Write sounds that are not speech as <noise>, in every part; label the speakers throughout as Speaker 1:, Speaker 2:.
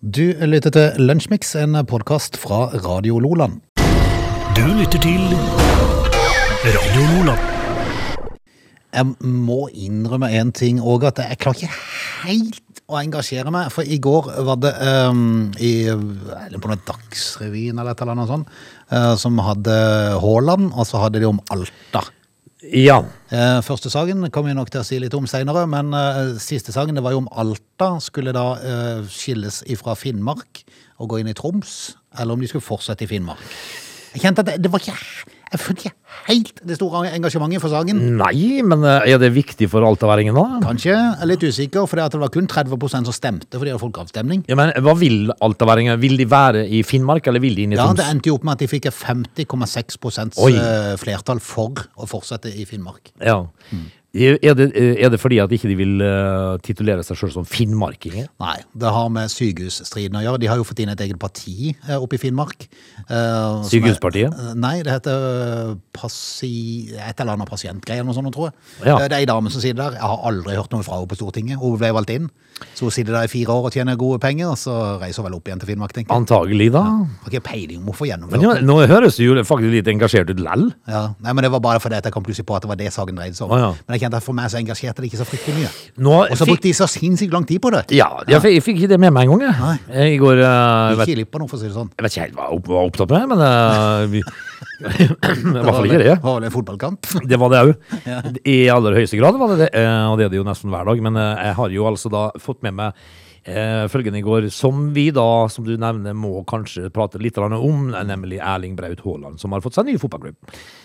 Speaker 1: Du lytter til Lunsjmix, en podkast fra Radio Loland.
Speaker 2: Du lytter til Radio Lola.
Speaker 1: Jeg må innrømme én ting, Åge, at jeg klarer ikke helt å engasjere meg. For i går var det ehm, i, eller på noe Dagsrevyen eller et eller annet sånt, eh, som hadde Haaland, og så hadde de om Alta.
Speaker 3: Ja.
Speaker 1: Eh, Første saken kommer vi nok til å si litt om senere, men eh, siste saken det var jo om Alta skulle da eh, skilles ifra Finnmark og gå inn i Troms, eller om de skulle fortsette i Finnmark. Jeg kjente at det, det var ikke Jeg følte ikke helt det store engasjementet for saken.
Speaker 3: Nei, men eh, er det viktig for altaværingen da?
Speaker 1: Kanskje. Jeg er litt usikker, for det var kun 30 som stemte fordi det var folkeavstemning.
Speaker 3: Ja, men Hva vil altaværingen? Vil de være i Finnmark, eller vil de inn i
Speaker 1: Ja,
Speaker 3: Troms?
Speaker 1: Det endte jo opp med at de fikk et 50,6
Speaker 3: Oi.
Speaker 1: eh, flertall for å fortsette i Finnmark.
Speaker 3: Ja.
Speaker 1: Mm.
Speaker 3: Er, det, eh, er det fordi at ikke de vil eh, titulere seg sjøl som finnmarkinger?
Speaker 1: Nei, det har med sykehusstriden å gjøre. De har jo fått inn et eget parti eh, oppe i Finnmark. eh, som er-
Speaker 3: Sykehuspartiet?
Speaker 1: Eh, Nei, det heter eh, passi... et eller annet pasientgreier eller noe sånt, tror jeg.
Speaker 3: Ja.
Speaker 1: Eh, Det er ei dame som sitter der. Jeg har aldri hørt noe fra henne på Stortinget. Hun ble valgt inn. Så hun sitter der i fire år og tjener gode penger, og så reiser hun vel opp igjen til Finnmark, tenker jeg.
Speaker 3: Antagelig, da.
Speaker 1: Har ikke peiling om hvorfor
Speaker 3: Men ja,
Speaker 1: gjennomført.
Speaker 3: nå høres du jo faktisk litt engasjert ut lell.
Speaker 1: Ja. Nei, men det var bare fordi at jeg kom plutselig på at det var det saken dreide seg om.
Speaker 3: Å, ja.
Speaker 1: Men jeg kjente at for meg så engasjerte det ikke så fryktelig mye.
Speaker 3: Nå
Speaker 1: Og så
Speaker 3: fikk-
Speaker 1: brukte de så sinnssykt lang tid på det.
Speaker 3: Ja, jeg fikk, jeg fikk ikke det med meg engang, jeg. jeg. I går eh,
Speaker 1: Ikke
Speaker 3: vet,
Speaker 1: i lipp av noe, for å si det sånn.
Speaker 3: Jeg vet ikke helt hva jeg opp- var opptatt med, men eh, vi, <coughs> I hvert fall
Speaker 1: var
Speaker 3: ikke
Speaker 1: vel-
Speaker 3: det.
Speaker 1: var vel en fotballkamp.
Speaker 3: Det var det òg. I aller høyeste grad var det det, eh, og det er det jo nesten hver dag. Men eh, jeg har jo altså da fått med meg eh, følgende i går, som vi da, som du nevner, må kanskje prate litt grann om, nemlig Erling Braut Haaland, som har fått seg ny fotballklubb.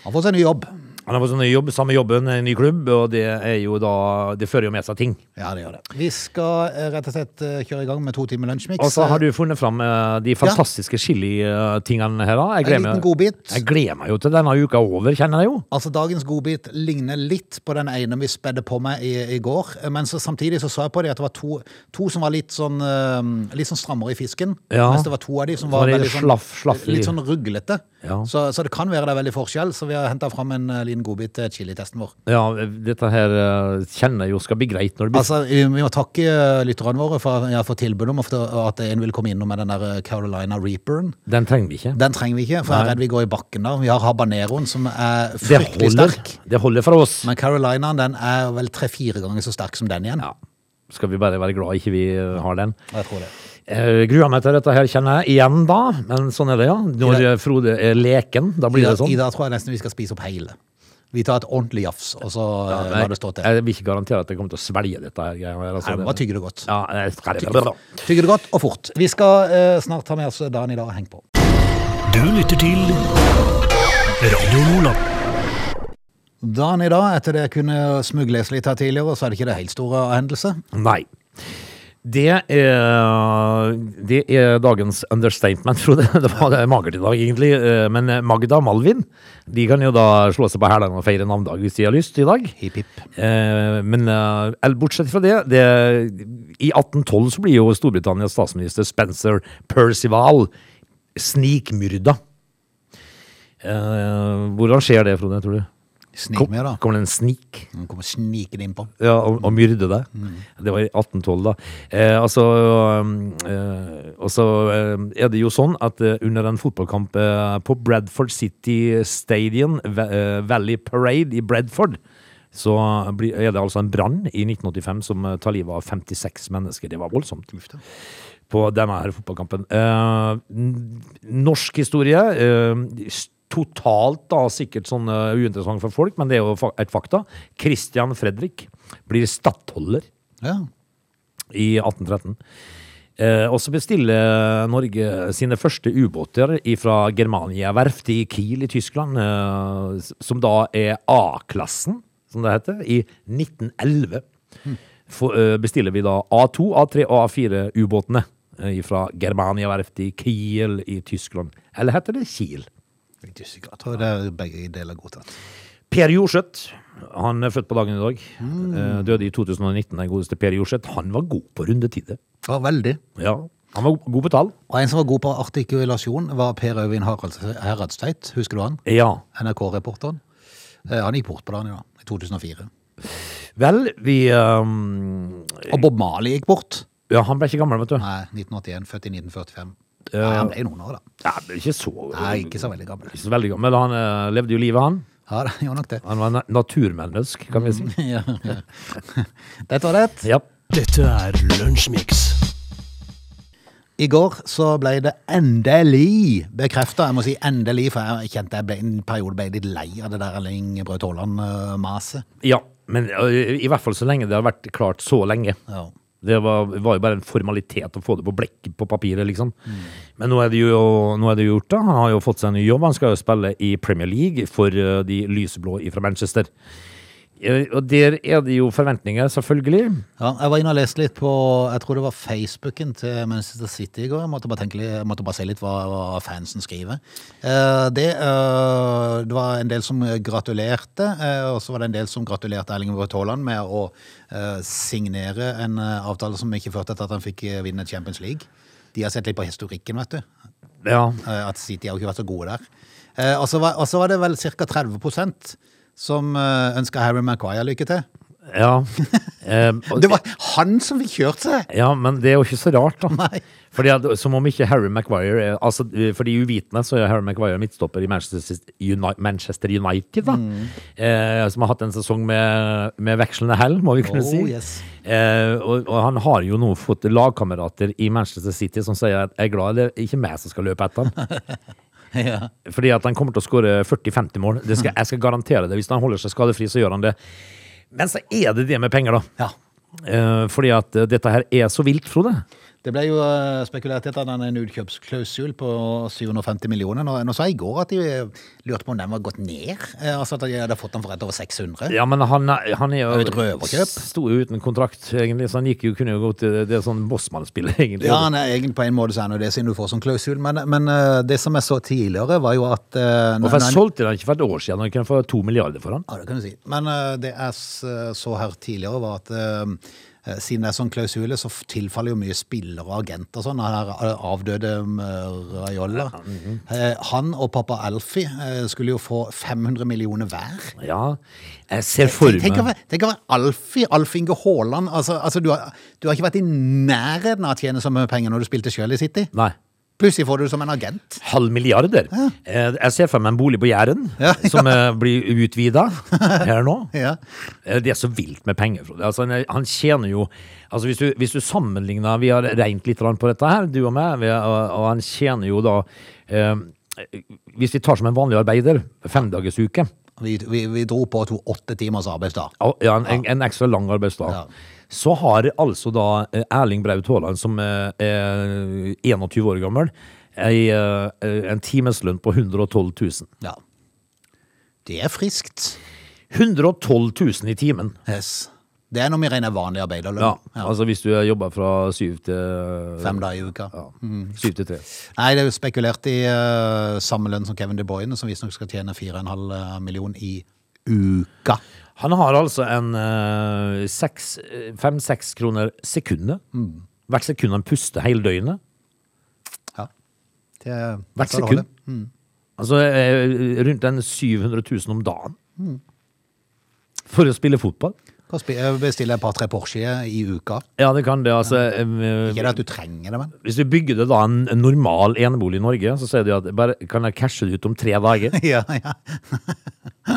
Speaker 1: Han får seg ny jobb.
Speaker 3: Han har fått seg ny jobb, samme jobben, en ny klubb, og det er jo da Det fører jo med seg ting.
Speaker 1: Ja, det gjør det. Vi skal eh, rett og slett eh, kjøre i gang med to timer lunsjmix.
Speaker 3: Og så har du funnet fram eh, de fantastiske chili-tingene her, da.
Speaker 1: En
Speaker 3: Jeg gleder,
Speaker 1: liten
Speaker 3: meg-
Speaker 1: godbit.
Speaker 3: jeg gleder meg jo til denne uka er over, kjenner jeg jo.
Speaker 1: Altså, dagens godbit ligner litt på den ene vi spedde på meg i, i går. eh, Men så, samtidig så så jeg på det at det var to, to som var litt sånn, eh, litt sånn strammere i fisken.
Speaker 3: Ja.
Speaker 1: Mens det var to av de som var,
Speaker 3: var det
Speaker 1: veldig sånn,
Speaker 3: slaff- slaff i-
Speaker 1: litt sånn ruglete.
Speaker 3: Ja.
Speaker 1: Så, så det kan være det er veldig forskjell. Så vi har henta fram en eh, liten godbit til chilitesten vår.
Speaker 3: Ja, dette her eh, kjenner jeg jo skal bli greit når det blir
Speaker 1: Altså, Vi vi må takke eh, lytterne våre for, ja, for tilbudet om å få- at en vil komme innom med den der eh, Carolina Reaperen.
Speaker 3: Den trenger vi ikke.
Speaker 1: Den trenger vi ikke, for jeg er redd vi går i bakken da. Vi har habaneroen som er
Speaker 3: Det
Speaker 1: fryktelig
Speaker 3: holder.
Speaker 1: sterk.
Speaker 3: Det holder for oss.
Speaker 1: Men Carolinaen den er vel tre-fire ganger så sterk som den igjen.
Speaker 3: Ja. Skal vi bare være glad ikke vi eh, har den.
Speaker 1: Jeg tror det.
Speaker 3: Eh, gruer meg til dette her, kjenner jeg. Igjen da, men sånn er det, ja. Når eh, Frode er leken, da blir
Speaker 1: Ida,
Speaker 3: det sånn.
Speaker 1: Ida tror jeg nesten vi skal spise opp hele. Vi tar et ordentlig jafs, og så ja,
Speaker 3: Nei,
Speaker 1: lar det stå til.
Speaker 3: Jeg vil ikke garantere at jeg kommer til å svelge dette her. greiene her, altså.
Speaker 1: Nei, bare tygge det godt.
Speaker 3: Ja, jeg skal det bra.
Speaker 1: Tygge det godt og fort. Vi skal eh, snart ta med oss dagen i dag. Heng på.
Speaker 2: Du lytter til Radio Lola.
Speaker 1: Dagen i dag, etter det jeg kunne smugles litt her tidligere, så er det ikke det helt store hendelse.
Speaker 3: Nei. Det er, det er dagens understatement, Frode. <laughs> Det var det er magert i dag, egentlig. Eh, Men Magda og Malvin de kan jo da slå seg på hælene og feire navndag hvis de har lyst i dag.
Speaker 1: Hipp, hipp.
Speaker 3: Eh, men eh, eller bortsett fra det, det I 1812 så blir jo Storbritannias statsminister Spencer Percival snikmyrda. Eh, hvordan skjer det, Frode, tror du?
Speaker 1: Snik med, da.
Speaker 3: Kommer det en snik
Speaker 1: Han kommer snikende innpå.
Speaker 3: ja, og, og myrde deg? Det var i 1812, da. Eh, altså, um, eh, og så eh, er det jo sånn at eh, under en fotballkamp eh, på Bradford City Stadium, Va- eh, Valley Parade i Bradford, så blir- er det altså en brann i 1985 som eh, tar livet av 56 mennesker. Det var voldsomt på denne her fotballkampen. Eh, n- norsk historie, eh, s- totalt da sikkert sånn eh, uinteressant for folk, men det er jo fa et fakta. Christian Fredrik blir stattholder
Speaker 1: Ja.
Speaker 3: i 1813. Eh, og så bestiller Norge sine første ubåter fra Germania verft i Kiel i Tyskland, eh, s- som da er A-klassen, som det heter, i 1911. For, eh, bestiller vi da A2, A3 og A4-ubåtene eh, fra Germania verft i Kiel i Tyskland. Eller heter det Kiel?
Speaker 1: Jeg er ikke sikker. Jeg tror det er begge deler godtatt.
Speaker 3: Per Jorseth, han er født på dagen i dag. Eh, døde i 2019, den godeste Per Jorseth. Han var god på rundetider.
Speaker 1: Ja, veldig.
Speaker 3: Ja, han var go- god på tall.
Speaker 1: Og en som var god på artikulasjon, var Per Øyvind Haralds- Heradstveit. Husker du han?
Speaker 3: Ja.
Speaker 1: NRK-reporteren. Eh, Han gikk bort på dagen i dag, i 2004.
Speaker 3: Vel, vi ehm,
Speaker 1: Og Bob Marley gikk bort.
Speaker 3: Ja, han ble ikke gammel, vet du.
Speaker 1: Nei, 1981, født i 1945. Nei, han ble jo noen år, da.
Speaker 3: Nei, han ble ikke så
Speaker 1: Nei, ikke så veldig gammel.
Speaker 3: Ikke så veldig gammel. Han eh, levde jo livet, han.
Speaker 1: Ja, det gjorde nok det. <laughs>
Speaker 3: Han var na- naturmennesk, kan vi si.
Speaker 1: Ja, ja. Dette var det.
Speaker 3: Ja.
Speaker 2: Dette er Lunsjmix.
Speaker 1: I går så ble det endelig bekrefta. Jeg må si endelig, for jeg kjente jeg ble, en periode ble litt lei av det der Erling Braut Haaland-maset.
Speaker 3: ja. Men eh, i hvert fall så lenge det har vært klart så lenge.
Speaker 1: Ja.
Speaker 3: Det var, var jo bare en formalitet å få det på blekk på papiret, liksom. Men nå er, det jo, nå er det jo gjort, da. Han har jo fått seg en ny jobb. Han skal jo spille i Premier League for eh, de lyseblå fra Manchester. Eh, Og der er det jo forventninger, selvfølgelig.
Speaker 1: Ja, jeg var inne og leste litt på jeg tror det var Facebooken til Manchester City i går. Jeg måtte bare, tenke, litt- jeg måtte bare se litt hva, hva fansen skriver. Eh, det, eh, det var en del som gratulerte, eh, og så var det en del som gratulerte Erling Braut Haaland med å eh, signere en eh, avtale som ikke førte til at han fikk eh, vinne Champions League. De har sett litt på historikken, vet du.
Speaker 3: Ja.
Speaker 1: Eh, At City har jo ikke vært så gode der. Eh, Og så var, og så var det vel ca. 30 som ønska Harry Maguire lykke til.
Speaker 3: ja.
Speaker 1: <laughs>
Speaker 3: Eh, og-
Speaker 1: Det var han som fikk kjørt seg! <laughs>
Speaker 3: Ja, men det er jo ikke så rart, da.
Speaker 1: Nei.
Speaker 3: Fordi at, som om ikke Harry Maguire er, altså, For de uvitende så er Harry Maguire midtstopper i Manchester United, Manchester United da.
Speaker 1: Mm.
Speaker 3: Eh, som har hatt en sesong med, med vekslende hell, må vi kunne
Speaker 1: Oh,
Speaker 3: si.
Speaker 1: yes.
Speaker 3: Eh, og, og han har jo nå fått lagkamerater i Manchester City som sier at jeg er glad det er ikke meg som skal løpe
Speaker 1: <laughs>
Speaker 3: etter han.
Speaker 1: Ja.
Speaker 3: Fordi at han kommer til å skåre 40-50 mål. Det
Speaker 1: <laughs>
Speaker 3: skal, jeg skal garantere det. Hvis han holder seg skadefri, så gjør han det. Men så er det det med penger, da.
Speaker 1: Ja.
Speaker 3: Eh, fordi at eh, dette her er så vilt, Frode.
Speaker 1: Det ble jo eh, spekulert i at han hadde en utkjøpsklausul på 750 millioner. Nå, nå sa jeg i går at de eh, lurte på om den var gått ned. eh, Altså at de hadde fått den for et over 600.
Speaker 3: Ja, men han, er- han
Speaker 1: Det er
Speaker 3: er jo
Speaker 1: jo et røverkjøp.
Speaker 3: Sto jo uten kontrakt, egentlig, så han gikk jo, kunne jo gå til det er sånn Bossmann-spill, <laughs> egentlig.
Speaker 1: Ja, han er egentlig på en måte så er han jo det siden du får sånn klausul, men, men eh, det som jeg så tidligere, var jo at eh, når-
Speaker 3: Hvorfor
Speaker 1: når-
Speaker 3: solgte de ikke for et år siden? Han kunne få to milliarder for han.
Speaker 1: Ja, det kan du si. Men eh, det jeg s- så her tidligere var at eh, eh, siden det er sånn klausule, så f- tilfaller jo mye spillere og agenter og sånn. Han her eh, avdøde eh, Raiola.
Speaker 3: mhm.
Speaker 1: Eh, Han og pappa Alfie eh, skulle jo få 500 millioner hver.
Speaker 3: Ja, jeg ser for
Speaker 1: Tenk, tenk, å
Speaker 3: meg
Speaker 1: være- tenk å være Alfie, Alf Inge Haaland. Altså, altså du, har, du har ikke vært i nærheten av å tjene så mye penger når du spilte sjøl i City.
Speaker 3: Nei.
Speaker 1: Plutselig får du det som en agent.
Speaker 3: Halv milliarder. Eh, Jeg ser for meg en bolig på Jæren,
Speaker 1: <laughs> Ja, ja.
Speaker 3: som eh, blir utvida her nå.
Speaker 1: <laughs> Ja.
Speaker 3: Eh, Det er så vilt med penger, Frode. Altså, han, han tjener jo altså, hvis, du, hvis du sammenligner Vi har regnet litt grann på dette her, du og meg, vi, og, og han tjener jo da eh, Hvis vi tar som en vanlig arbeider, femdagersuke
Speaker 1: Vi, vi, vi dro på og tok åtte timers arbeidsdag.
Speaker 3: ja, en, en ekstra lang arbeidsdag.
Speaker 1: Ja.
Speaker 3: Så har altså da eh, Erling Braut Haaland, som eh, er 21 år gammel, ei, eh, en timeslønn på 112 000.
Speaker 1: Ja. Det er friskt.
Speaker 3: 112 000 i timen!
Speaker 1: Yes. Det er når vi regner vanlig arbeiderlønn.
Speaker 3: Ja,
Speaker 1: Ja.
Speaker 3: altså hvis du jobber fra syv til
Speaker 1: Fem Mm. dager i uka.
Speaker 3: Ja, syv til tre.
Speaker 1: Nei, det er jo spekulert i eh, samme lønn som Kevin De Bruyne, som visstnok skal tjene 4,5 eh, million i uka.
Speaker 3: Han har altså en eh, seks- eh, fem-seks kroner sekundet.
Speaker 1: Mm.
Speaker 3: Hvert sekund han puster hele døgnet.
Speaker 1: Ja. Det er-
Speaker 3: Hvert
Speaker 1: skal det Mm.
Speaker 3: sekund.
Speaker 1: holde.
Speaker 3: Altså eh, rundt en 700 000 om dagen.
Speaker 1: Mm.
Speaker 3: For å spille fotball?
Speaker 1: Kan spi- eh, bestille et par-tre Porsche i uka.
Speaker 3: Ja, det kan det. Altså, eh,
Speaker 1: Ikke det at du trenger det, men. <laughs>
Speaker 3: hvis du bygger det da en en normal enebolig i Norge, så sier de at bare kan jeg cashe det ut om tre dager.
Speaker 1: Ja, ja.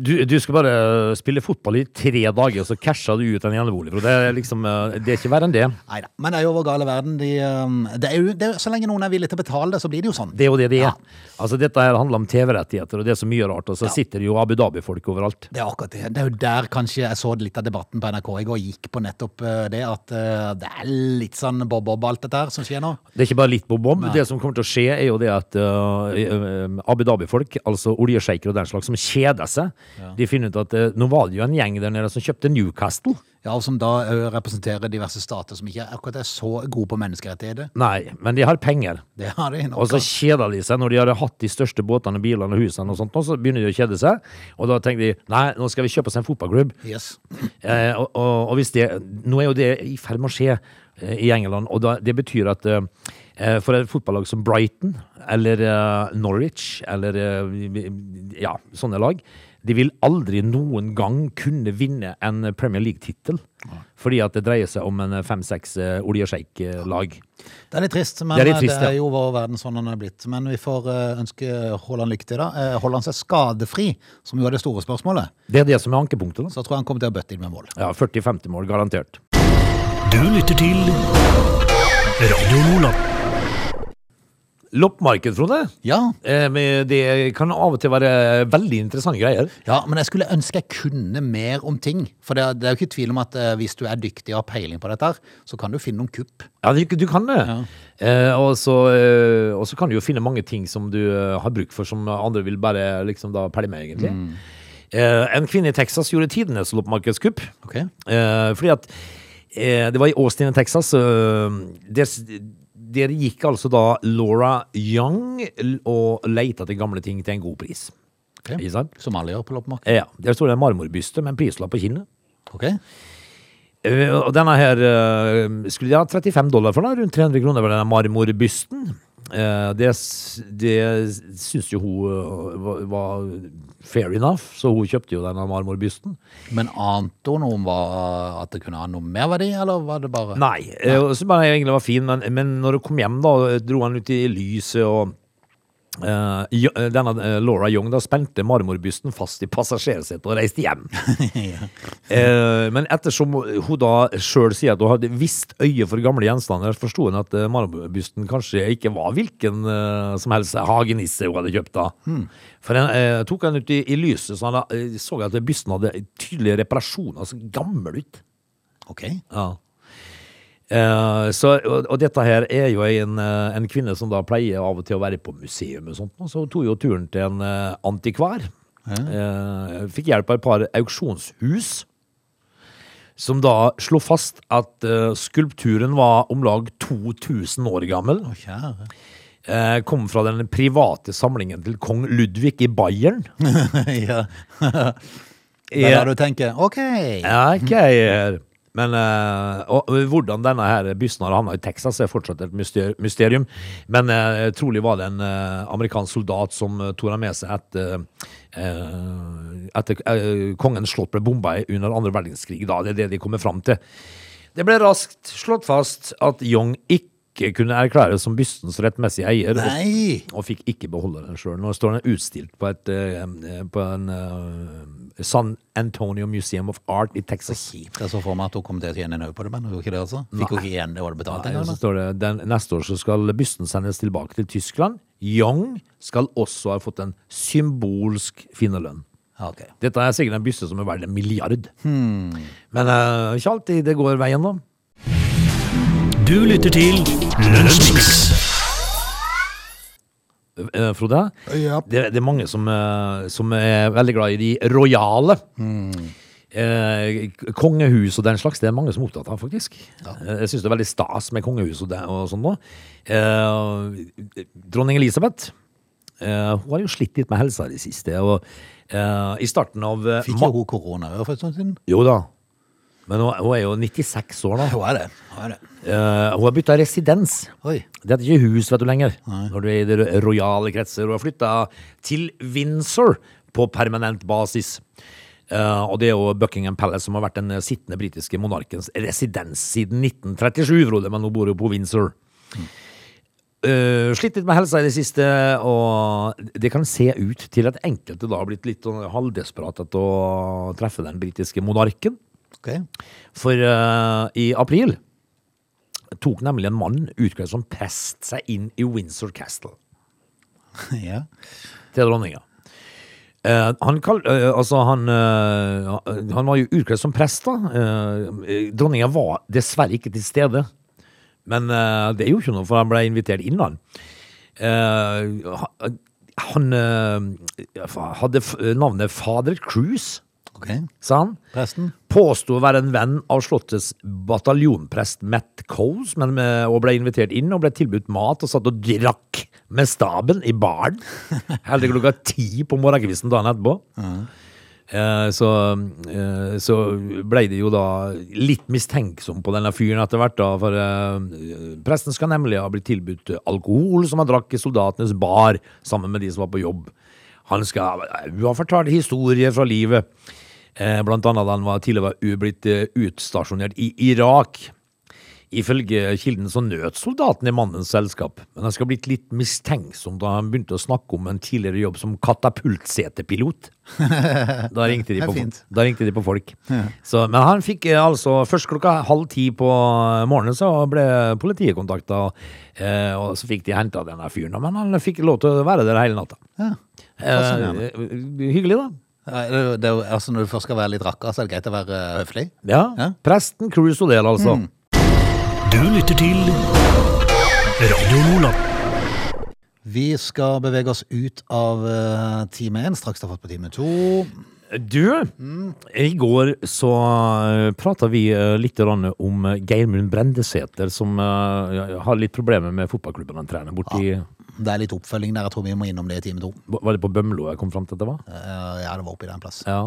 Speaker 3: Du, du skal bare eh, spille fotball i tre dager, og så casher du ut en enebolig. For det er liksom eh, Det er ikke verre enn det.
Speaker 1: Neida. Men det er jo over gale verden. De, eh, det er jo, det er, så lenge noen er villig til å betale det, så blir det jo sånn.
Speaker 3: Det er jo det det er. Altså, dette her handler om TV-rettigheter, og det er så mye rart. Og så sitter jo Abu Dhabi-folk overalt.
Speaker 1: Det er akkurat det. Det er jo der kanskje jeg så litt av debatten på NRK i går, gikk på nettopp eh, det at eh, det er litt sånn bob-bob alt dette her som skjer nå.
Speaker 3: Det er ikke bare litt bob-bob. Det som kommer til å skje, er jo det at øh, øh, Abu Dhabi-folk, altså oljesjeiker og den slags, som kjeder seg, de finner ut at øh, nå var det jo en gjeng der nede som kjøpte Newcastle.
Speaker 1: Ja, og som da eh, representerer diverse stater som ikke akkurat er så gode på menneskerettigheter.
Speaker 3: Nei, men de har penger.
Speaker 1: Det har de
Speaker 3: Og
Speaker 1: nok.
Speaker 3: så
Speaker 1: av.
Speaker 3: kjeder de seg når de har hatt de største båtene, bilene og husene og sånt, og så begynner de å kjede seg. Og da tenker de nei, nå skal vi kjøpe oss en fotballklubb.
Speaker 1: Yes.
Speaker 3: Eh, og, og, og hvis det Nå er jo det i ferd med å skje. eh, i England. Og da, det betyr at eh, eh, for et fotballag som Brighton eller eh, Norwich eller eh, ja, sånne lag, de vil aldri noen gang kunne vinne en Premier League-tittel. Fordi at det dreier seg om en eh, fem-seks eh, olje- og sjeik-lag.
Speaker 1: Det er litt trist, men det
Speaker 3: Det er
Speaker 1: er,
Speaker 3: litt trist, ja.
Speaker 1: jo vår verden sånn den er blitt. Men vi får eh, ønske Haaland lykke til, da. Eh, Haaland seg skadefri, som jo er det store spørsmålet.
Speaker 3: Det er det som er ankepunktet. da.
Speaker 1: Så tror jeg han kommer til å bøtte inn med mål.
Speaker 3: Ja, 40-50 mål, garantert.
Speaker 2: Du lytter til Radio Nordland.
Speaker 3: Loppmarked, Frode.
Speaker 1: Ja,
Speaker 3: Eh, men Det kan av og til være veldig interessante greier.
Speaker 1: ja men jeg skulle ønske jeg kunne mer om ting. For det er, det er jo ikke tvil om at eh, hvis du er dyktig og har peiling på dette, her, så kan du finne noen kupp.
Speaker 3: Ja, du, du kan det. Eh, og, så, eh, og så kan du jo finne mange ting som du eh, har bruk for, som andre vil bare liksom da pelle med, egentlig. Eh, en kvinne i Texas gjorde tidenes loppemarkedskupp.
Speaker 1: Ok.
Speaker 3: Eh, fordi at eh, det var i Austin i Texas. eh, der, s- der gikk altså da Laura Young l- og leita etter gamle ting til en god pris.
Speaker 1: Ok.
Speaker 3: Ikke sant?
Speaker 1: Som alle gjør på loppemarked.
Speaker 3: Eh, ja. Der står det en marmorbyste med en prislapp på kinnet.
Speaker 1: Ok.
Speaker 3: Eh, Og denne her eh, skulle de ha 35 dollar for, da, rundt 300 kroner for denne marmorbysten. Eh, Det, s- det syns jo hun eh, var- var fair enough, så hun kjøpte jo denne marmorbysten.
Speaker 1: Men ante hun noe om hva- at det kunne ha noe merverdi, eller var det bare
Speaker 3: Nei, eh, og så bare jeg egentlig var fin, men, men når hun kom hjem, da, dro han ut i lyset og eh, Jo- denne eh, Laura Young da spente marmorbysten fast i passasjersetet og reiste hjem.
Speaker 1: <laughs>
Speaker 3: Eh, men ettersom hun da sjøl sier at hun hadde visst øye for gamle gjenstander, forsto hun at eh, marmorbysten kanskje ikke var hvilken eh, som helst hagenisse hun hadde kjøpt da. For han eh, tok han ut i, i lyset, så han eh, så at bysten hadde tydelige reparasjoner, så gammel ut.
Speaker 1: Ok.
Speaker 3: Ja. Eh, så, og, og dette her er jo en, eh, en kvinne som da pleier av og til å være på museum og sånt, og så hun tok jo turen til en eh, antikvar. Eh, fikk hjelp av et par auksjonshus, som da slo fast at eh, skulpturen var om lag 2000 år gammel.
Speaker 1: Å, kjære.
Speaker 3: Eh, kom fra den private samlingen til kong Ludvig i Bayern.
Speaker 1: <laughs> ja. Det er da du tenker OK.
Speaker 3: Ja, ok. Men eh, og, og hvordan denne her bysten har havna i Texas, er fortsatt et myster- mysterium. Men eh, trolig var det en eh, amerikansk soldat som eh, tok den med seg etter, eh, etter eh, kongens slott ble bomba i- under andre verdenskrig. Da. Det er det de kommer fram til. Det ble raskt slått fast at Young ikke kunne erklæres som bystens rettmessige eier. og-
Speaker 1: Nei!
Speaker 3: og fikk ikke beholde den sjøl. Nå står den utstilt på, et, eh, på en eh, San Antonio Museum of Art i Texas.
Speaker 1: Kjipt. Jeg så for meg at hun kom til å tjene en haug på det, men hun gjorde ikke det, altså. Fikk hun ikke igjen det hun hadde betalt
Speaker 3: Nei, og
Speaker 1: engang?
Speaker 3: så
Speaker 1: da?
Speaker 3: står det, den, neste år så skal bysten sendes tilbake til Tyskland. Young skal også ha fått en symbolsk finnerlønn.
Speaker 1: Ja, ok.
Speaker 3: Dette er sikkert en byste som er verdt en milliard. Men eh, ikke alltid det går veien, da.
Speaker 2: Du lytter til Lunsjmix.
Speaker 3: Eh, Frode,
Speaker 1: Ja.
Speaker 3: det, det er mange som, eh, som er veldig glad i de rojale. Eh, k- kongehus og den slags, det er mange som er opptatt av, faktisk. Eh, Jeg syns det er veldig stas med kongehus og, det, og sånn nå. Eh, dronning Elisabeth, eh, hun har jo slitt litt med helsa i det siste. Og eh, i starten av eh,
Speaker 1: Fikk
Speaker 3: ma-
Speaker 1: jo hun korona for en stund siden?
Speaker 3: Jo da. Men hun, hun er jo 96 år nå.
Speaker 1: Hun er det. Hun er det.
Speaker 3: Eh, hun har bytta residens.
Speaker 1: Oi.
Speaker 3: Det heter ikke hus, vet du, lenger. Når du er i de ro- rojale kretser og har flytta til Windsor på permanent basis. Eh, og det er jo Buckingham Palace som har vært den eh, sittende britiske monarkens residens siden 1937, Frode, men hun bor jo på Windsor. Eh, slitt litt med helsa i det siste, og det kan se ut til at enkelte da har blitt litt sånn halvdesperate etter å treffe den britiske monarken.
Speaker 1: Ok. <laughs>
Speaker 3: For eh, i april tok nemlig en mann utkledd som prest seg inn i Windsor Castle
Speaker 1: Ja.
Speaker 3: til dronninga. Eh, han, kall, eh, altså han, eh, han var jo utkledd som prest, da. Eh, dronninga var dessverre ikke til stede. Men eh, det er jo ikke noe, for han ble invitert inn, han. Eh, ha- han eh, hadde f- navnet Fader Cruise,
Speaker 1: Ok.
Speaker 3: sa han.
Speaker 1: Presten?
Speaker 3: Påsto å være en venn av Slottets bataljonprest Matt Coles, men, eh, og ble invitert inn og ble tilbudt mat og satt og drakk med staben i baren. Helt til klokka ti på morgenkvisten dagen etterpå. Eh, Så, eh, så ble de jo da litt mistenksom på denne fyren etter hvert, da. For eh, presten skal nemlig ha blitt tilbudt alkohol som han drakk i soldatenes bar sammen med de som var på jobb. Han skal eh, hun har fortalt historier fra livet. Eh, Blant annet da han var tidligere blitt eh, utstasjonert i Irak. Ifølge kilden så nøt soldaten i mannens selskap, men han skal ha blitt litt mistenksom da han begynte å snakke om en tidligere jobb som
Speaker 1: <laughs>
Speaker 3: katapultsetepilot. Da ringte de
Speaker 1: Det er
Speaker 3: på,
Speaker 1: fint.
Speaker 3: da ringte de på folk. Så, men han fikk eh, altså Først klokka halv ti på morgenen så ble politiet kontakta, eh, og så fikk de henta denne fyren. Men han fikk lov til å være der hele natta.
Speaker 1: Ja. sånn
Speaker 3: Eh,
Speaker 1: Fascinerende.
Speaker 3: hyggelig, da.
Speaker 1: Nei, Det, er jo- det, er jo- altså når du først skal være litt rakker, så er det greit å være eh, høflig.
Speaker 3: Ja.
Speaker 1: Ja. Mm.
Speaker 3: Presten Cruise Odell, altså.
Speaker 2: Du lytter til Radio Nordland.
Speaker 1: Vi skal bevege oss ut av eh, time én, straks har fått på time to.
Speaker 3: Du, i går så prata vi eh, litt grann om eh, Geirmund Brendesæter, som eh, har litt problemer med fotballklubben han trener borti
Speaker 1: Det er litt oppfølging der, jeg tror vi må innom det i time to.
Speaker 3: Var det på Bømlo jeg kom fram til at det var?
Speaker 1: Eh, ja, det var oppi den plass.
Speaker 3: Ja.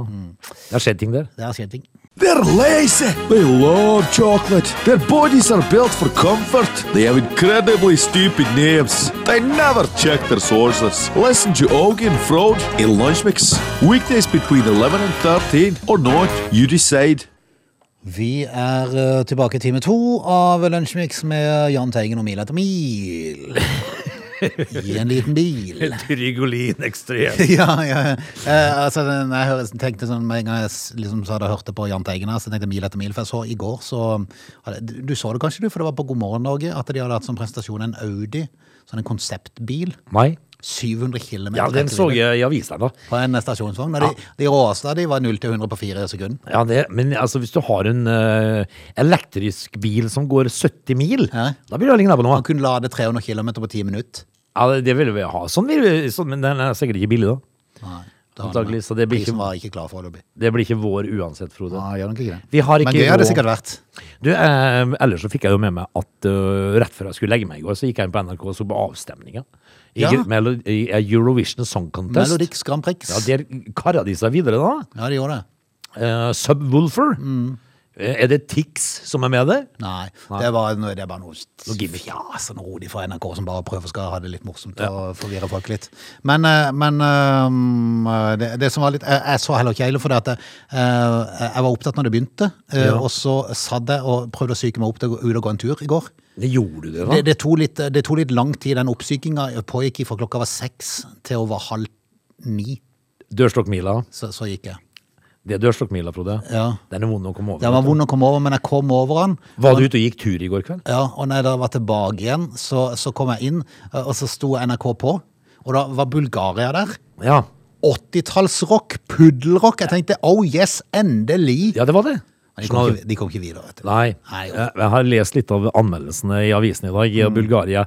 Speaker 3: Det har skjedd ting der.
Speaker 1: Det har skjedd ting.
Speaker 4: They're lazy. They love chocolate. Their bodies are built for comfort. They have incredibly stupid names. They never check their sources. Listen to Augie and Frode in Lunch Mix. Weekdays between 11 and 13 or not, you decide.
Speaker 1: Vi er eh, tilbake i time to av Lunsjmix med Jahn Teigen og Mil etter <laughs> mil. I en liten <laughs> bil.
Speaker 3: Trygolin <laughs> ekstrem.
Speaker 1: ja, ja. Eh, altså, den- jeg hører- tenkte sånn med en gang jeg s- liksom, så hadde jeg hørt det på Jahn Teigen her, så tenkte jeg mil etter mil. For jeg så i går, så hadde, Du du så det kanskje, du, for det var på God morgen Norge at de hadde hatt som presentasjon en Audi. Sånn en konseptbil.
Speaker 3: Nei?
Speaker 1: 700 km.
Speaker 3: Ja, den så jeg i avisa, da.
Speaker 1: På en stasjonsvogn. Og de, de råeste av de var 0 til 100 på fire sekunder.
Speaker 3: Ja, det, men altså, hvis du har en eh, elektrisk bil som går 70 mil,
Speaker 1: Ja.
Speaker 3: da vil det ligne på noe.
Speaker 1: Man kunne lade 300 km på 10 minutter.
Speaker 3: Ja, det- det ville vi ha. Sånn vil vi, sånn, men den er sikkert ikke billig, da.
Speaker 1: Nei, det har
Speaker 3: Antagelig,
Speaker 1: de med.
Speaker 3: så det blir
Speaker 1: Prisen
Speaker 3: ikke-
Speaker 1: var ikke klar foreløpig.
Speaker 3: Det blir ikke vår uansett, Frode.
Speaker 1: Nei, gjør nok ikke det.
Speaker 3: Vi har ikke
Speaker 1: Men gøy har det
Speaker 3: råd.
Speaker 1: sikkert vært.
Speaker 3: Du, eh, ellers så fikk jeg jo med meg at eh, rett før jeg skulle legge meg i går, så gikk jeg inn på NRK og så på avstemninga. I,
Speaker 1: Ja.
Speaker 3: Melo- i eh, Eurovision Song Contest.
Speaker 1: Melodix Grand Prix.
Speaker 3: Ja, Der kara de seg videre, da.
Speaker 1: Ja, de gjorde det.
Speaker 3: Eh, Subwoolfer.
Speaker 1: Mm.
Speaker 3: Eh, er det Tix som er med der?
Speaker 1: Nei, Det, var, det er bare noe
Speaker 3: Noe gimmick.
Speaker 1: fjas og rolig fra NRK som bare prøver skal ha det litt morsomt og forvirre folk litt. Men, eh, men eh, det, det som var litt Jeg, jeg så heller ikke hele for det at jeg, eh, jeg var opptatt når det begynte, eh,
Speaker 3: Ja.
Speaker 1: og så satt jeg og prøvde å psyke meg opp til å gå ut og gå en tur i går.
Speaker 3: Det gjorde du det, da?
Speaker 1: Det, det, tok litt, det tok litt lang tid. Den oppsykinga pågikk fra klokka var seks til over halv ni.
Speaker 3: Dørstokkmila.
Speaker 1: Så, så gikk jeg.
Speaker 3: Det er dørstokkmila, Frode.
Speaker 1: Ja.
Speaker 3: Den er vond å komme over.
Speaker 1: Den var vond å komme over, men jeg kom over den.
Speaker 3: Var du ute og gikk tur i går kveld?
Speaker 1: Ja, og når jeg da var tilbake igjen, så, så kom jeg inn, eh, og så sto NRK på. Og da var Bulgaria der.
Speaker 3: Ja.
Speaker 1: 80-tallsrock, puddelrock. Jeg tenkte oh yes, endelig!
Speaker 3: Ja, det var det.
Speaker 1: Men de kom ikke, de kom ikke videre, vet du.
Speaker 3: Nei.
Speaker 1: Nei, Mm. jo.
Speaker 3: jeg jeg har lest litt av anmeldelsene i avisen i dag, i Bulgaria.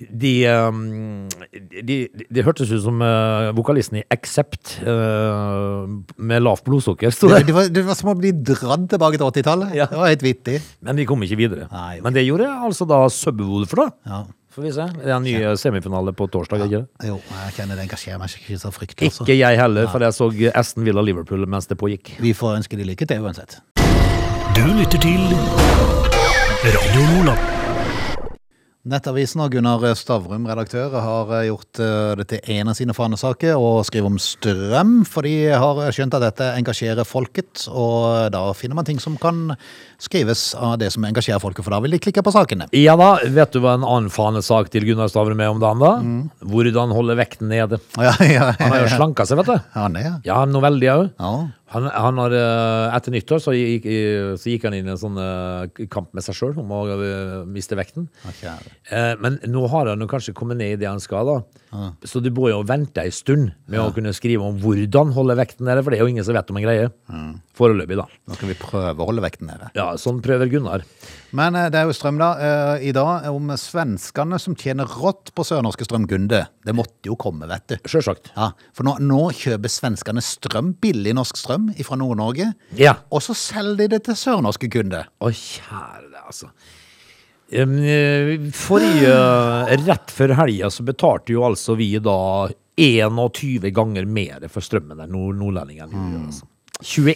Speaker 3: De, um, de, de, det hørtes ut som eh, vokalisten i Accept eh, med lavt blodsukker, sto
Speaker 1: Det, <laughs>
Speaker 3: det.
Speaker 1: det, var, det var som å bli dratt tilbake til 80-tallet.
Speaker 3: Ja.
Speaker 1: Det var helt vittig.
Speaker 3: Men de kom ikke videre.
Speaker 1: Nei, ok.
Speaker 3: Men det gjorde altså da Subwoolfer, da.
Speaker 1: Ja.
Speaker 3: Får vi se. Det er en ny semifinale på torsdag, ikke det?
Speaker 1: Jo, jeg kjenner det engasjerer meg ikke så fryktelig. altså.
Speaker 3: Ikke jeg heller, for jeg så Aston Villa Liverpool mens det pågikk.
Speaker 1: Vi får ønske de lykke til uansett.
Speaker 2: Du lytter til Radio Nordland.
Speaker 1: Nettavisen og Gunnar Stavrum, redaktør, har eh, gjort eh, det til en av sine fanesaker å skrive om strøm, for de har skjønt at dette engasjerer folket, og da finner man ting som kan skrives av det som engasjerer folket, for da vil de klikke på sakene. <laughs>
Speaker 3: Ja da, vet du hva en annen fanesak til Gunnar Stavrum er om dagen, da?
Speaker 1: Mm.
Speaker 3: Hvordan holde vekten nede.
Speaker 1: Ja, ja, <laughs>
Speaker 3: Han har jo
Speaker 1: ja.
Speaker 3: slanka seg, vet du.
Speaker 1: Ja, det, ja.
Speaker 3: Ja, en novelle, ja.
Speaker 1: Ja.
Speaker 3: Han, han har, eh, etter nyttår så gikk, eh, så gikk han inn i en sånn eh, kamp med seg sjøl om å eh, miste vekten.
Speaker 1: Ja, kjære.
Speaker 3: Eh, Men nå har han jo kanskje kommet ned i det han skal, da. Så du må jo vente ei stund med å kunne skrive om hvordan holde vekten nede, for det er jo ingen som vet om en greie. Foreløpig, da.
Speaker 1: Nå skal vi prøve å holde vekten nede.
Speaker 3: Ja, sånn prøver Gunnar.
Speaker 1: Men eh, det er jo strøm da, eh, i dag om svenskene som tjener rått på sørnorske strømkunde. Det måtte jo komme, vet du.
Speaker 3: Sjølsagt.
Speaker 1: Ja, for nå, nå kjøper svenskene strøm, billig norsk strøm fra Nord-Norge,
Speaker 3: Ja.
Speaker 1: og så selger de det til sørnorske kunder.
Speaker 3: Å, kjære deg, altså. Em, eh, Forrige Rett før helga så betalte jo altså vi da 21 ganger mer for strømmen enn nord- nordlendingene gjør.
Speaker 1: Mm.
Speaker 3: Altså.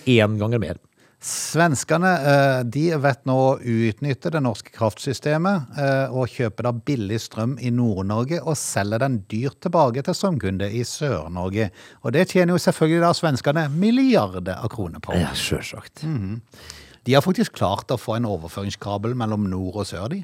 Speaker 3: 21 ganger mer.
Speaker 1: Svenskene eh, de vet nå å utnytte det norske kraftsystemet eh, og kjøper da billig strøm i Nord-Norge og selger den dyrt tilbake til strømkunde i Sør-Norge. Og det tjener jo selvfølgelig da svenskene milliarder av kroner på.
Speaker 3: Ja, sjølsagt.
Speaker 1: De har faktisk klart å få en overføringskabel mellom nord og sør, de.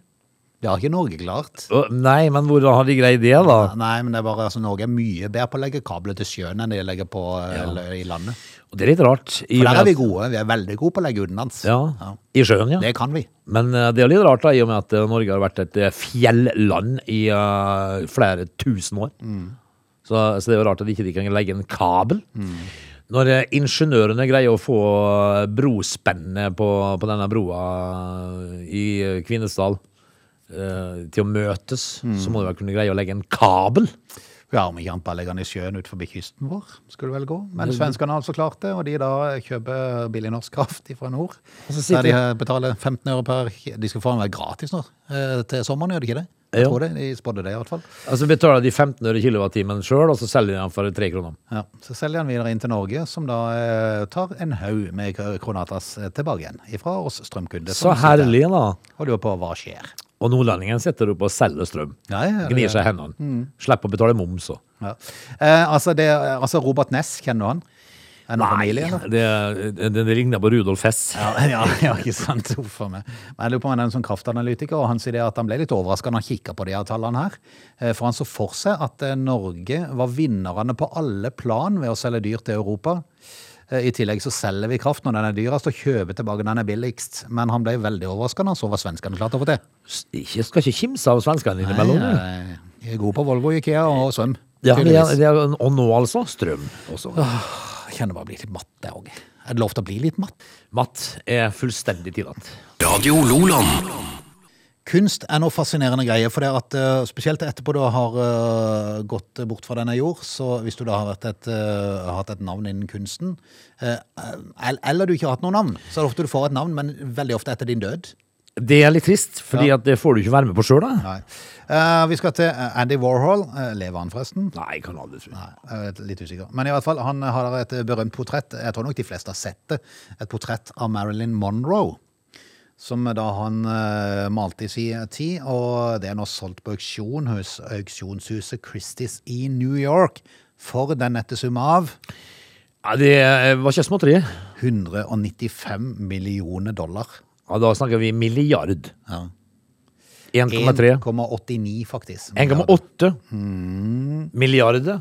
Speaker 1: Det har ikke Norge klart.
Speaker 3: Å, Nei, men hvordan har de greid det, da?
Speaker 1: Nei, men det er bare altså, Norge er mye bedre på å legge kabler til sjøen enn de legger på eh, eller i landet.
Speaker 3: Og det er litt rart. i
Speaker 1: For
Speaker 3: og
Speaker 1: der
Speaker 3: med
Speaker 1: er vi
Speaker 3: at-
Speaker 1: gode. Vi er veldig gode på å legge utenlands.
Speaker 3: Ja, I sjøen, ja.
Speaker 1: Det kan vi.
Speaker 3: Men eh, det er jo litt rart, da, i og med at eh, Norge har vært et eh, fjelland i eh, flere tusen år. Så, så det er jo rart at ikke de ikke kan legge en kabel. Når eh, ingeniørene greier å få eh, brospennet på, på denne broa i eh, Kvinesdal eh, til å møtes, så må de vel kunne greie å legge en kabel?
Speaker 1: Ja, om ikke annet bare legger den i sjøen ut forbi kysten vår, skulle det vel gå.
Speaker 3: Mm.
Speaker 1: Men svenskene har altså klart det, og de da kjøper billig norsk kraft fra nord.
Speaker 3: Og så sitter-
Speaker 1: Der de betaler 15 øre per ki- De skal få den vel gratis nå eh, til sommeren, gjør de ikke det?
Speaker 3: Jo.
Speaker 1: Jeg tror det, de spådde det i hvert fall.
Speaker 3: Altså betaler de 15 øre kilowattimen sjøl, og så selger de den for tre kroner.
Speaker 1: Ja, Så selger han videre inn til Norge, som da eh, tar en haug med k- kronatas eh, tilbake igjen ifra oss strømkunder.
Speaker 3: Så
Speaker 1: som Sånn sitter
Speaker 3: herlig, da.
Speaker 1: Og lurer på hva skjer.
Speaker 3: Og nordlendingen sitter oppe og selger strøm.
Speaker 1: Ja, ja, Mm. det-
Speaker 3: Gnir seg i hendene. Slipper å betale moms og
Speaker 1: Ja. Eh, altså, det, altså, Robert Ness, kjenner du han? Er det noen familie, eller?
Speaker 3: Det, det, det ligner på Rudolf Hess.
Speaker 1: Ja, <laughs> ja, ja, ikke sant. Huff a meg. Men jeg lurer på om han er en sånn kraftanalytiker, og han sier det at han ble litt overraska når han kikka på de her tallene her. Eh, For han så for seg at eh, Norge var vinnerne på alle plan ved å selge dyr til Europa. Eh, I tillegg så selger vi kraft når den er dyrest, og kjøper tilbake når den er billigst. Men han ble veldig overraska da han så hva svenskene klarte å få til.
Speaker 3: S- Ikke, skal ikke kimse av svenskene innimellom. du.
Speaker 1: Nei, De er gode Eh, på Volvo, Ikea og svøm.
Speaker 3: Ja, men
Speaker 1: tydeligvis.
Speaker 3: det er- og nå altså strøm også.
Speaker 1: Jeg kjenner bare å bli litt matt, jeg òg. Er det lov til å bli litt matt?
Speaker 3: Matt er fullstendig tillatt.
Speaker 2: Radio Loland.
Speaker 1: Kunst er noe fascinerende greie, for det er at eh, spesielt etterpå du har eh, gått bort fra denne jord, så hvis du da har vært et, eh, hatt et navn innen kunsten, eh, el- eller du ikke har hatt noe navn, så er det ofte du får et navn, men veldig ofte etter din død.
Speaker 3: Det er litt trist, fordi at det får du ikke være med på sjøl, da.
Speaker 1: Nei. Eh, vi skal til Andy Warhol. Eh, lever han forresten?
Speaker 3: Nei, kan aldri tro.
Speaker 1: Nei, jeg er litt usikker. Men i hvert fall, han har et berømt portrett, jeg tror nok de fleste har sett det, et portrett av Marilyn Monroe, som da han eh, malte i sin tid, og det er nå solgt på auksjon hos auksjonshuset Christie's i New York, for den nette summa av
Speaker 3: Ja, det eh, var ikke småtteri.
Speaker 1: 195 millioner dollar.
Speaker 3: Ja, da snakker vi milliard.
Speaker 1: Ja.
Speaker 3: 1,3.
Speaker 1: 1,89 faktisk.
Speaker 3: 1,8
Speaker 1: Mm.
Speaker 3: milliarder.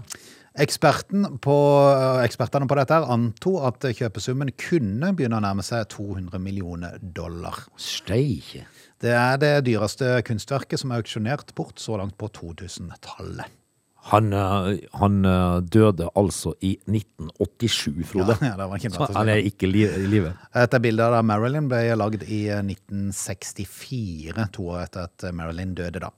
Speaker 1: Eksperten på, eh, ekspertene på dette her anto at kjøpesummen kunne begynne å nærme seg 200 millioner dollar.
Speaker 3: Steike.
Speaker 1: Det er det dyreste kunstverket som er auksjonert bort så langt på 2000-tallet.
Speaker 3: Han, eh, han eh, døde altså i 1987, Frode.
Speaker 1: Ja, det var ikke
Speaker 3: Så
Speaker 1: bra.
Speaker 3: han er ikke li i live.
Speaker 1: Dette bildet av Marilyn ble lagd i 1964, to år etter at eh, Marilyn døde da.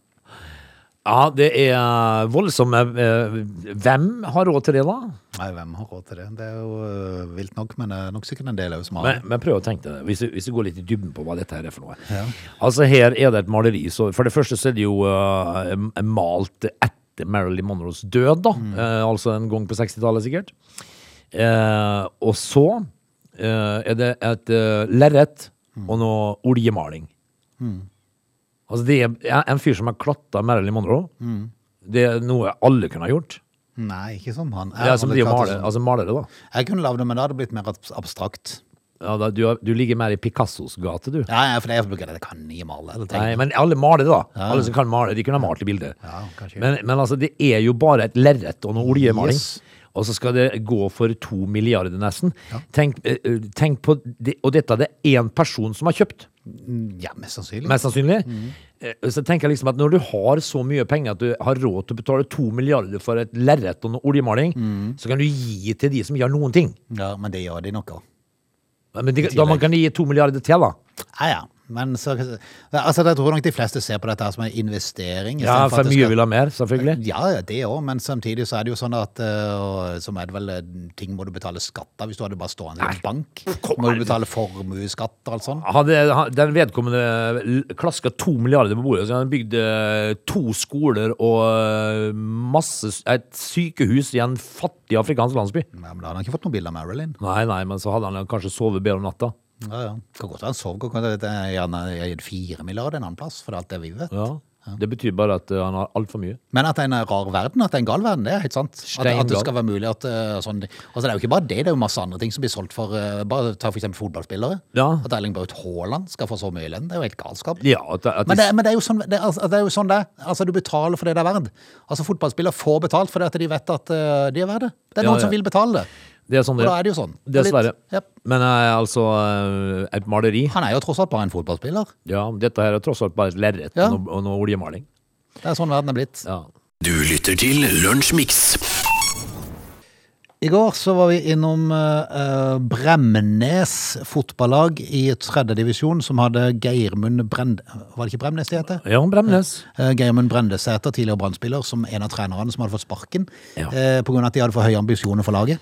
Speaker 3: Ja, det er voldsomme eh, Hvem har råd til det, da?
Speaker 1: Nei, hvem har råd til det? Det er jo øh, vilt nok, men det er nok sikkert en del av oss som har
Speaker 3: Men,
Speaker 1: det.
Speaker 3: men prøv å tenke deg det, hvis, du- hvis du går litt i dybden på hva dette her er for noe. Altså, her er det et maleri. Så for det første så er det jo eh, malt etter Marilyn Monroes død, da.
Speaker 1: Mm.
Speaker 3: Eh, altså en gang på 60-tallet, sikkert. Eh, og så eh, er det et eh, lerret
Speaker 1: Mm.
Speaker 3: og noe oljemaling. Altså, det er ja, en fyr som har klatta Marilyn Monroe.
Speaker 1: Mm.
Speaker 3: Det er noe alle kunne ha gjort.
Speaker 1: Nei, ikke som han.
Speaker 3: Ja, som
Speaker 1: Han
Speaker 3: de
Speaker 1: hadde klart det
Speaker 3: maler,
Speaker 1: sånn.
Speaker 3: altså malere, da.
Speaker 1: Jeg kunne lagd det, men da hadde det blitt mer abs- abstrakt.
Speaker 3: Ja, da du, har- du ligger mer i Picassos gate, du.
Speaker 1: Ja, ja, for det er fordi det kan ni male. eller tenke.
Speaker 3: Nei, men alle maler, da. Alle som kan male, de kunne ha malt i bildet.
Speaker 1: Ja, kanskje.
Speaker 3: men, men altså, det er jo bare et lerret og noe oljemaling.
Speaker 1: Yes.
Speaker 3: Og så skal det gå for to milliarder, nesten. Tenk, eh, eh, tenk på det, Og dette det er én person som har kjøpt,
Speaker 1: Mm, Ja, Mm. mest sannsynlig.
Speaker 3: mest sannsynlig. Eh, Så tenker jeg liksom at når du har så mye penger at du har råd til å betale to milliarder for et lerret og noe oljemaling,
Speaker 1: Mm.
Speaker 3: så kan du gi til de som ikke har noen ting.
Speaker 1: Ja, men det gjør de nok òg.
Speaker 3: Men de, da man kan gi to milliarder til, da.
Speaker 1: Ja, ja. Men så, altså, jeg tror nok de fleste ser på dette her som en investering.
Speaker 3: Ja,
Speaker 1: istedenfor at
Speaker 3: for
Speaker 1: det
Speaker 3: mye
Speaker 1: skal-
Speaker 3: vil ha mer, selvfølgelig.
Speaker 1: Ja, ja, det òg, men samtidig så er det jo sånn at eh, og, Som er det vel eh, ting må du betale skatt av hvis du hadde bare stående i en bank. Må du betale formuesskatt og alt sånt.
Speaker 3: Hadde han- den vedkommende l- klaska to milliarder på bordet, så han bygde to skoler og eh, masse, et sykehus i en fattig afrikansk landsby.
Speaker 1: Ja, men da hadde han ikke fått noe bilde av Marilyn.
Speaker 3: Nei, nei, men så hadde han kanskje sovet bedre om natta.
Speaker 1: Ja, ja. Kan godt være han sov godt. Det er gjerne jeg har gitt fire milliarder en annen plass, for det er alt det vi vet.
Speaker 3: Ja. Det betyr bare at eh, han har altfor mye.
Speaker 1: Men at det er en rar verden, at det er en gal verden, det er helt sant. At, at det
Speaker 3: Steingal.
Speaker 1: skal være mulig at eh, sånn Altså, det er jo ikke bare det, det er jo masse andre ting som blir solgt for eh, Bare ta for eksempel fotballspillere.
Speaker 3: Ja.
Speaker 1: At Erling Braut Haaland skal få så mye lønn, det er jo helt galskap.
Speaker 3: Ja, at, at
Speaker 1: Men det, men det er jo sånn det, er- altså, det er jo sånn det er. Altså, du betaler for det det er verdt. Altså, fotballspillere får betalt fordi at de vet at eh, de er verdt det. Det er
Speaker 3: Ja,
Speaker 1: noen som
Speaker 3: ja.
Speaker 1: vil betale det.
Speaker 3: Det er sånn
Speaker 1: Og da er det jo sånn.
Speaker 3: Dessverre.
Speaker 1: Litt, ja.
Speaker 3: Men eh, altså, eh, et maleri
Speaker 1: Han er jo tross alt bare en fotballspiller.
Speaker 3: Ja, dette her er tross alt bare et lerret
Speaker 1: Ja.
Speaker 3: og noe- og noe oljemaling.
Speaker 1: Det er sånn verden er blitt.
Speaker 3: Ja.
Speaker 2: Du lytter til Lunsjmix.
Speaker 1: I går så var vi innom eh, eh, Bremnes fotballag i tredjedivisjon, som hadde Geirmund Brend... Var det ikke Bremnes det heter?
Speaker 3: Jan Bremnes.
Speaker 1: Eh, Geirmund Brendesæter, tidligere brannspiller, som en av trenerne som hadde fått sparken
Speaker 3: Ja.
Speaker 1: eh, på grunn av at de hadde for høye ambisjoner for laget.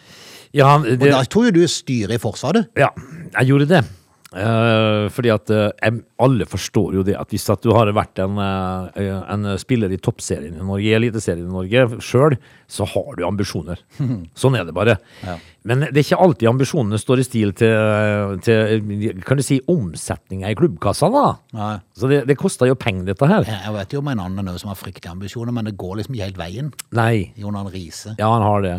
Speaker 3: Ja, det,
Speaker 1: Og da tror jo du styret i Forsvaret.
Speaker 3: ja, jeg gjorde det. Eh, fordi at eh, em- alle forstår jo det at hvis at du har vært en, eh, en spiller i toppserien i Norge, i eliteserien i Norge sjøl, så har du
Speaker 1: <laughs>
Speaker 3: ambisjoner. Sånn er det bare. Men det er ikke alltid ambisjonene står i stil til, til kan du si, omsetninga i klubbkassa, da.
Speaker 1: Nei.
Speaker 3: Så det, det koster jo penger, dette her.
Speaker 1: Eh, Jeg jeg vet jo om en annen nå som har fryktelige ambisjoner, men det går liksom ikke helt veien.
Speaker 3: Nei.
Speaker 1: Jonan Riise.
Speaker 3: Ja, han har det.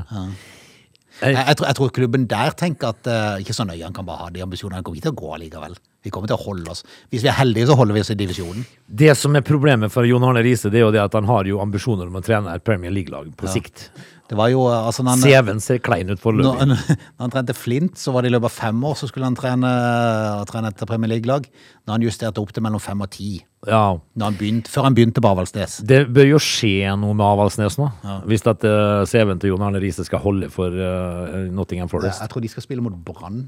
Speaker 1: Jeg, jeg, tror, jeg tror klubben der tenker at eh, ikke så nøye, han kan bare ha de ambisjonene. Han kommer ikke til å gå allikevel. Vi kommer til å holde oss. Hvis vi er heldige, så holder vi oss i divisjonen.
Speaker 3: Det som er problemet for Jon Arne Riise, det er jo det at han har jo ambisjoner om å trene et Premier League-lag på sikt.
Speaker 1: Det var jo, eh, altså, når han,
Speaker 3: CV-en ser klein ut
Speaker 1: når,
Speaker 3: foreløpig.
Speaker 1: han, <laughs> når han trente Flint, så var det i løpet av fem år, så skulle han trene, eh, trene etter Premier League-lag. Når han justerte opp til mellom fem og ti,
Speaker 3: Ja.
Speaker 1: når han begynte, før han begynte på Avaldsnes.
Speaker 3: Det bør jo skje noe med Avaldsnes nå, hvis at eh, CV-en til Jon Arne Riise skal holde for eh, Nottingham Forest.
Speaker 1: Jeg tror de skal spille mot Brann.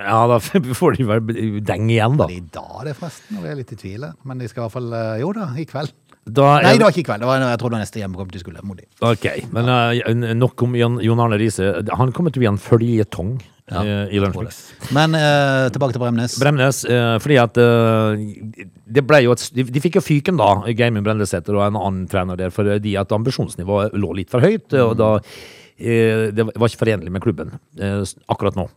Speaker 3: Ja, da <laughs> får de vel deng igjen, da.
Speaker 1: Det er i dag, det, forresten. Nå er jeg litt i tvil. Men de skal i hvert fall eh, Jo da, i kveld.
Speaker 3: da er-
Speaker 1: Nei, det var ikke i kveld. Det var, jeg tror det var neste hjemmekamp de skulle mot de.
Speaker 3: Ok, men eh, nok om Jon Jon Arne Riise. Han kommer til å bli en føljetong
Speaker 1: Ja,
Speaker 3: eh, i Lunsjmix.
Speaker 1: Men eh, tilbake til Bremnes.
Speaker 3: Bremnes, eh, fordi at eh, det ble jo et, de, de fikk jo fyken da, Geimund Brendesæter og en annen trener der, fordi at ambisjonsnivået lå litt for høyt, og da eh, det var ikke forenlig med klubben eh, s- akkurat nå.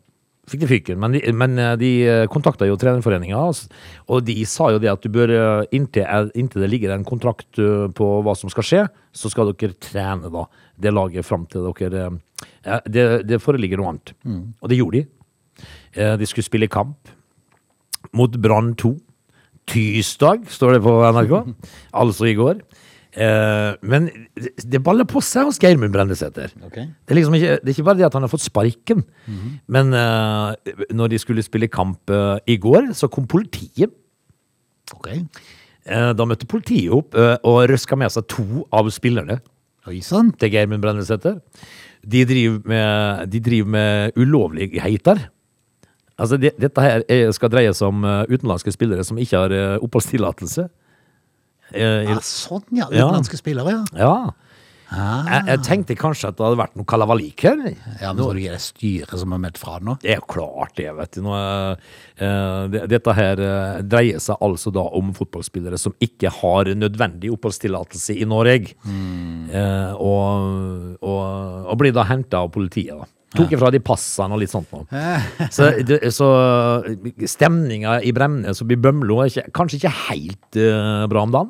Speaker 3: Fikk de fyken, men de, men eh, de kontakta jo trenerforeninga, altså, og de sa jo det at du bør, eh, inntil, er- inntil det ligger en kontrakt eh, på hva som skal skje, så skal dere trene da, det laget fram til dere eh, det, det foreligger noe annet. Og det gjorde de. Eh, De skulle spille kamp mot Brann 2. Tirsdag, står det på NRK. altså i går. Eh, men det- det baller på seg hos Geirmund Brendesæter.
Speaker 1: Ok.
Speaker 3: Det, er liksom ikke, det er ikke bare det at han har fått sparken. Men eh, når de skulle spille kamp eh, i går, så kom politiet.
Speaker 1: Ok.
Speaker 3: Eh, da møtte politiet opp eh, og røska med seg to av spillerne
Speaker 1: Oi sann.
Speaker 3: til Geirmund Brendesæter. De driver med, de driver med ulovligheter. Altså, det, dette her er, skal dreie seg om eh, utenlandske spillere som ikke har eh, oppholdstillatelse. Eh, i-
Speaker 1: Ja, sånn, ja.
Speaker 3: Ja.
Speaker 1: Utenlandske spillere, ja.
Speaker 3: ja. Jeg, jeg tenkte kanskje at det hadde vært noe kalavalik her.
Speaker 1: Ja, men tror du ikke det er styret som har meldt fra nå?
Speaker 3: Det er jo klart det, vet du. Nå, eh, eh, det- dette her eh, dreier seg altså da om fotballspillere som ikke har nødvendig oppholdstillatelse i Norge. Eh, og, og, og blir da henta av politiet, da. Tok ifra de passene og litt sånt nå. Så, det- så stemninga i Bremnes og i Bømlo er ikke, kanskje ikke helt eh, bra om dagen.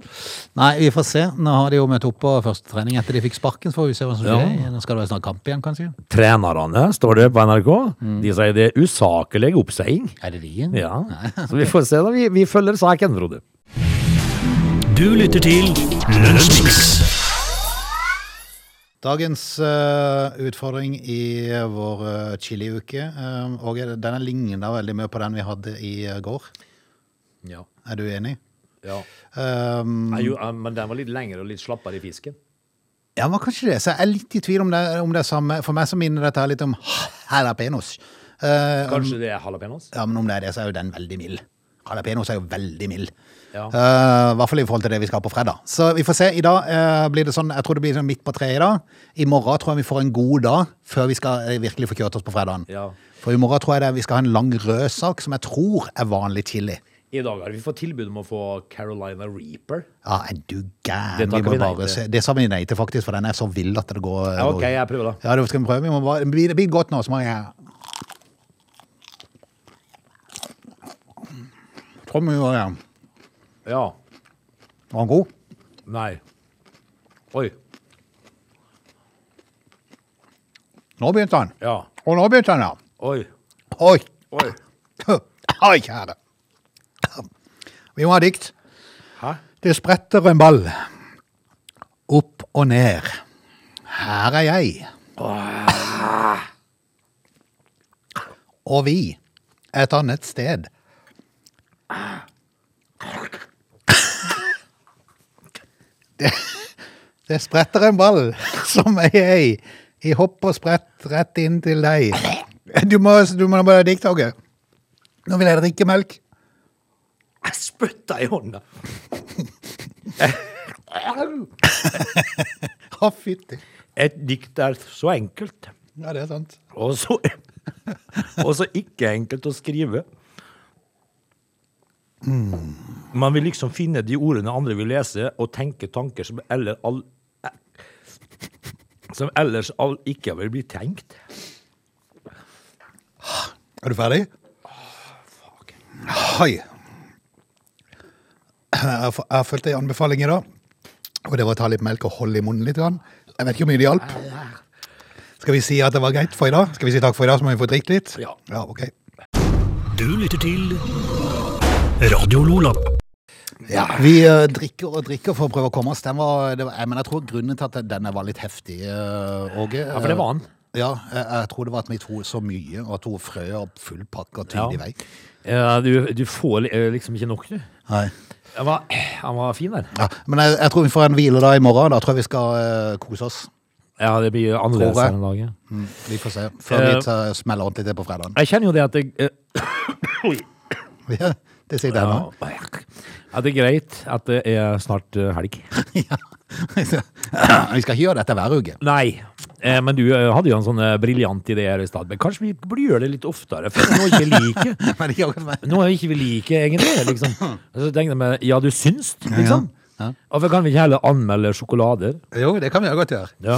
Speaker 1: Nei, vi får se. Nå har de jo møtt opp på første trening etter de fikk sparken, så får vi se hva som skjer. Nå skal det være snart kamp igjen, kanskje.
Speaker 3: Trenerne, står det på NRK, de sier det er usaklig oppseiing.
Speaker 1: Er det de igjen? <laughs>
Speaker 3: Ja. Så vi får se, da. Vi, vi følger saken, Frode.
Speaker 2: Du lytter til Lunsjmix.
Speaker 1: Dagens eh, utfordring i vår eh, chiliuke, eh, og denne ligner veldig mye på den vi hadde i eh, går.
Speaker 3: Ja.
Speaker 1: Er du enig?
Speaker 3: Ja.
Speaker 1: Um,
Speaker 3: Nei, jo, eh, men den var litt lengre og litt slappere i fisken.
Speaker 1: ja, men kanskje det. Så jeg er litt i tvil om det, om det er samme. For meg så minner dette her litt Eh, om jalapeños. Eh,
Speaker 3: Kanskje det er jalapeños?
Speaker 1: ja, men om det er det, så er jo den veldig mild. Jalapeños er jo veldig mild.
Speaker 3: Ja.
Speaker 1: Eh, I hvert fall i forhold til det vi skal ha på fredag. Så vi får se. I dag eh, blir det sånn, jeg tror det blir sånn midt på treet i dag. I morgen tror jeg vi får en god dag før vi skal eh, virkelig få kjørt oss på fredagen.
Speaker 3: Ja.
Speaker 1: For i morgen tror jeg det, er- vi skal ha en lang rød sak som jeg tror er vanlig chili.
Speaker 3: I dag har vi fått tilbud om å få Carolina Reaper.
Speaker 1: Ja, er du
Speaker 3: Det
Speaker 1: gæren?
Speaker 3: takker
Speaker 1: Vi må
Speaker 3: vi nei
Speaker 1: bare
Speaker 3: til.
Speaker 1: se- Det sa vi nei til, faktisk, for den er så vill at det går eh,
Speaker 3: Ja, ok,
Speaker 1: går-
Speaker 3: jeg prøver da.
Speaker 1: Ja, det skal vi prøve. Vi må bare, det blir- det blir godt nå, så må jeg Tror vi var ja.
Speaker 3: Ja.
Speaker 1: Var han god?
Speaker 3: Nei. Oi.
Speaker 1: Nå begynte han.
Speaker 3: Ja.
Speaker 1: Og nå begynte han, ja.
Speaker 3: Oi.
Speaker 1: Oi.
Speaker 3: Oi.
Speaker 1: <laughs> Oi, kjære. Vi må ha dikt.
Speaker 3: Hæ?
Speaker 1: Det spretter en ball. Opp og ned. Her er jeg. Og vi. Et annet sted. Det, det spretter en ball <laughs> som ei ei i hopp og sprett rett inn til deg. Du må, du må bare dikte, Åge. Nå vil jeg drikke melk.
Speaker 3: Jeg spytta i hånda.
Speaker 1: Å, fytti.
Speaker 3: Et dikt er så enkelt,
Speaker 1: Ja, det er sant.
Speaker 3: og så, <laughs> og så ikke enkelt å skrive. Man vil liksom finne de ordene andre vil lese, og tenke tanker som, eller all, som ellers all ikke vil bli tenkt.
Speaker 1: Er du ferdig? Hei. Jeg f- jeg fulgte en anbefaling i dag, og det var å ta litt melk og holde i munnen litt. Grann. Jeg vet ikke hvor mye det hjalp. Skal vi si at det var greit for i dag? Skal vi si takk for i dag, så må vi få drikke litt?
Speaker 3: Ja.
Speaker 1: ja ok.
Speaker 2: Du lytter til Radio Lola.
Speaker 1: Ja, vi eh, drikker og drikker for å prøve å komme oss. Den var, det var, jeg, men jeg tror grunnen til at denne var litt heftig, eh, Åge
Speaker 3: Ja, for det var han.
Speaker 1: Ja, jeg, jeg tror det var at vi tog så mye, og tog frø og full pakke og
Speaker 3: Ja.
Speaker 1: tydelig vei.
Speaker 3: Ja, du, du får eh, liksom ikke nok, du.
Speaker 1: Nei.
Speaker 3: Han var, han var fin der.
Speaker 1: Ja, men jeg, jeg tror vi får en hvile da i morgen. Da tror jeg vi skal eh, kose oss.
Speaker 3: Ja, det blir annerledes
Speaker 1: Tror jeg.
Speaker 3: denne dagen.
Speaker 1: Vi får se. Før
Speaker 3: Eh.
Speaker 1: vi tar, smeller ordentlig til på fredagen. <laughs>
Speaker 3: Jeg kjenner jo det at jeg, eh,
Speaker 1: det sier det nå. <laughs>
Speaker 3: ja, at det er greit at det er snart eh, helg.
Speaker 1: Ja. vi skal <clears throat> ikke gjøre dette hver uke. <laughs>
Speaker 3: Nei, eh, men du eh, hadde jo en sånn eh, briljant idé her i stad. Men kanskje vi burde gjøre det litt oftere, for nå er ikke like.
Speaker 1: Men det gjør ikke meg.
Speaker 3: Nå er vi ikke vi like, egentlig. liksom. Og Så tenkte jeg meg, ja, du syns, liksom.
Speaker 1: Ja.
Speaker 3: Hvorfor kan vi ikke heller anmelde sjokolader?
Speaker 1: Jo, det kan vi jo godt gjøre.
Speaker 3: Ja.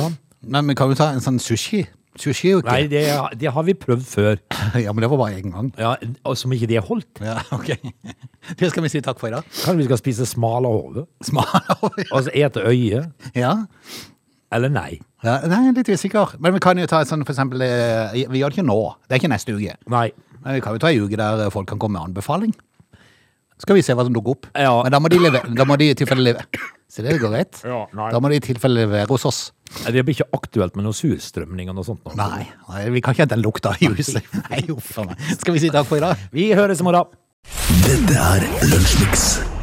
Speaker 1: Men vi kan jo ta en sånn sushi. Sushi-uke.
Speaker 3: Nei, det, det har vi prøvd før,
Speaker 1: <laughs> Ja, men det var bare én gang.
Speaker 3: ja, og som ikke det holdt.
Speaker 1: Ja, <laughs> ok. Det skal vi si takk for i dag.
Speaker 3: Kanskje vi skal spise smal av hodet?
Speaker 1: <laughs> Smal.
Speaker 3: Altså ete øye?
Speaker 1: Ja.
Speaker 3: Eller nei?
Speaker 1: ja. Nei, jeg er litt usikker. Men vi kan jo ta et sånn for eksempel eh, Vi gjør det ikke nå. Det er ikke neste uke.
Speaker 3: Nei.
Speaker 1: Men vi kan jo ta en uke der folk kan komme med anbefaling. Skal vi se hva som dukker opp.
Speaker 3: Ja.
Speaker 1: Men da må de, leve, da må de i tilfelle leve. Se, det går rett.
Speaker 3: Ja, nei.
Speaker 1: da må de i tilfelle levere hos oss.
Speaker 3: Det blir ikke aktuelt med noen surstrømning og noe sånt. nå.
Speaker 1: Nei, nei vi kan ikke hente den lukta i
Speaker 3: <laughs>
Speaker 1: huset. Nei, uff a meg. Skal vi si takk for i dag?
Speaker 3: Vi høres i morgen.
Speaker 2: Dette er Lunsjmix.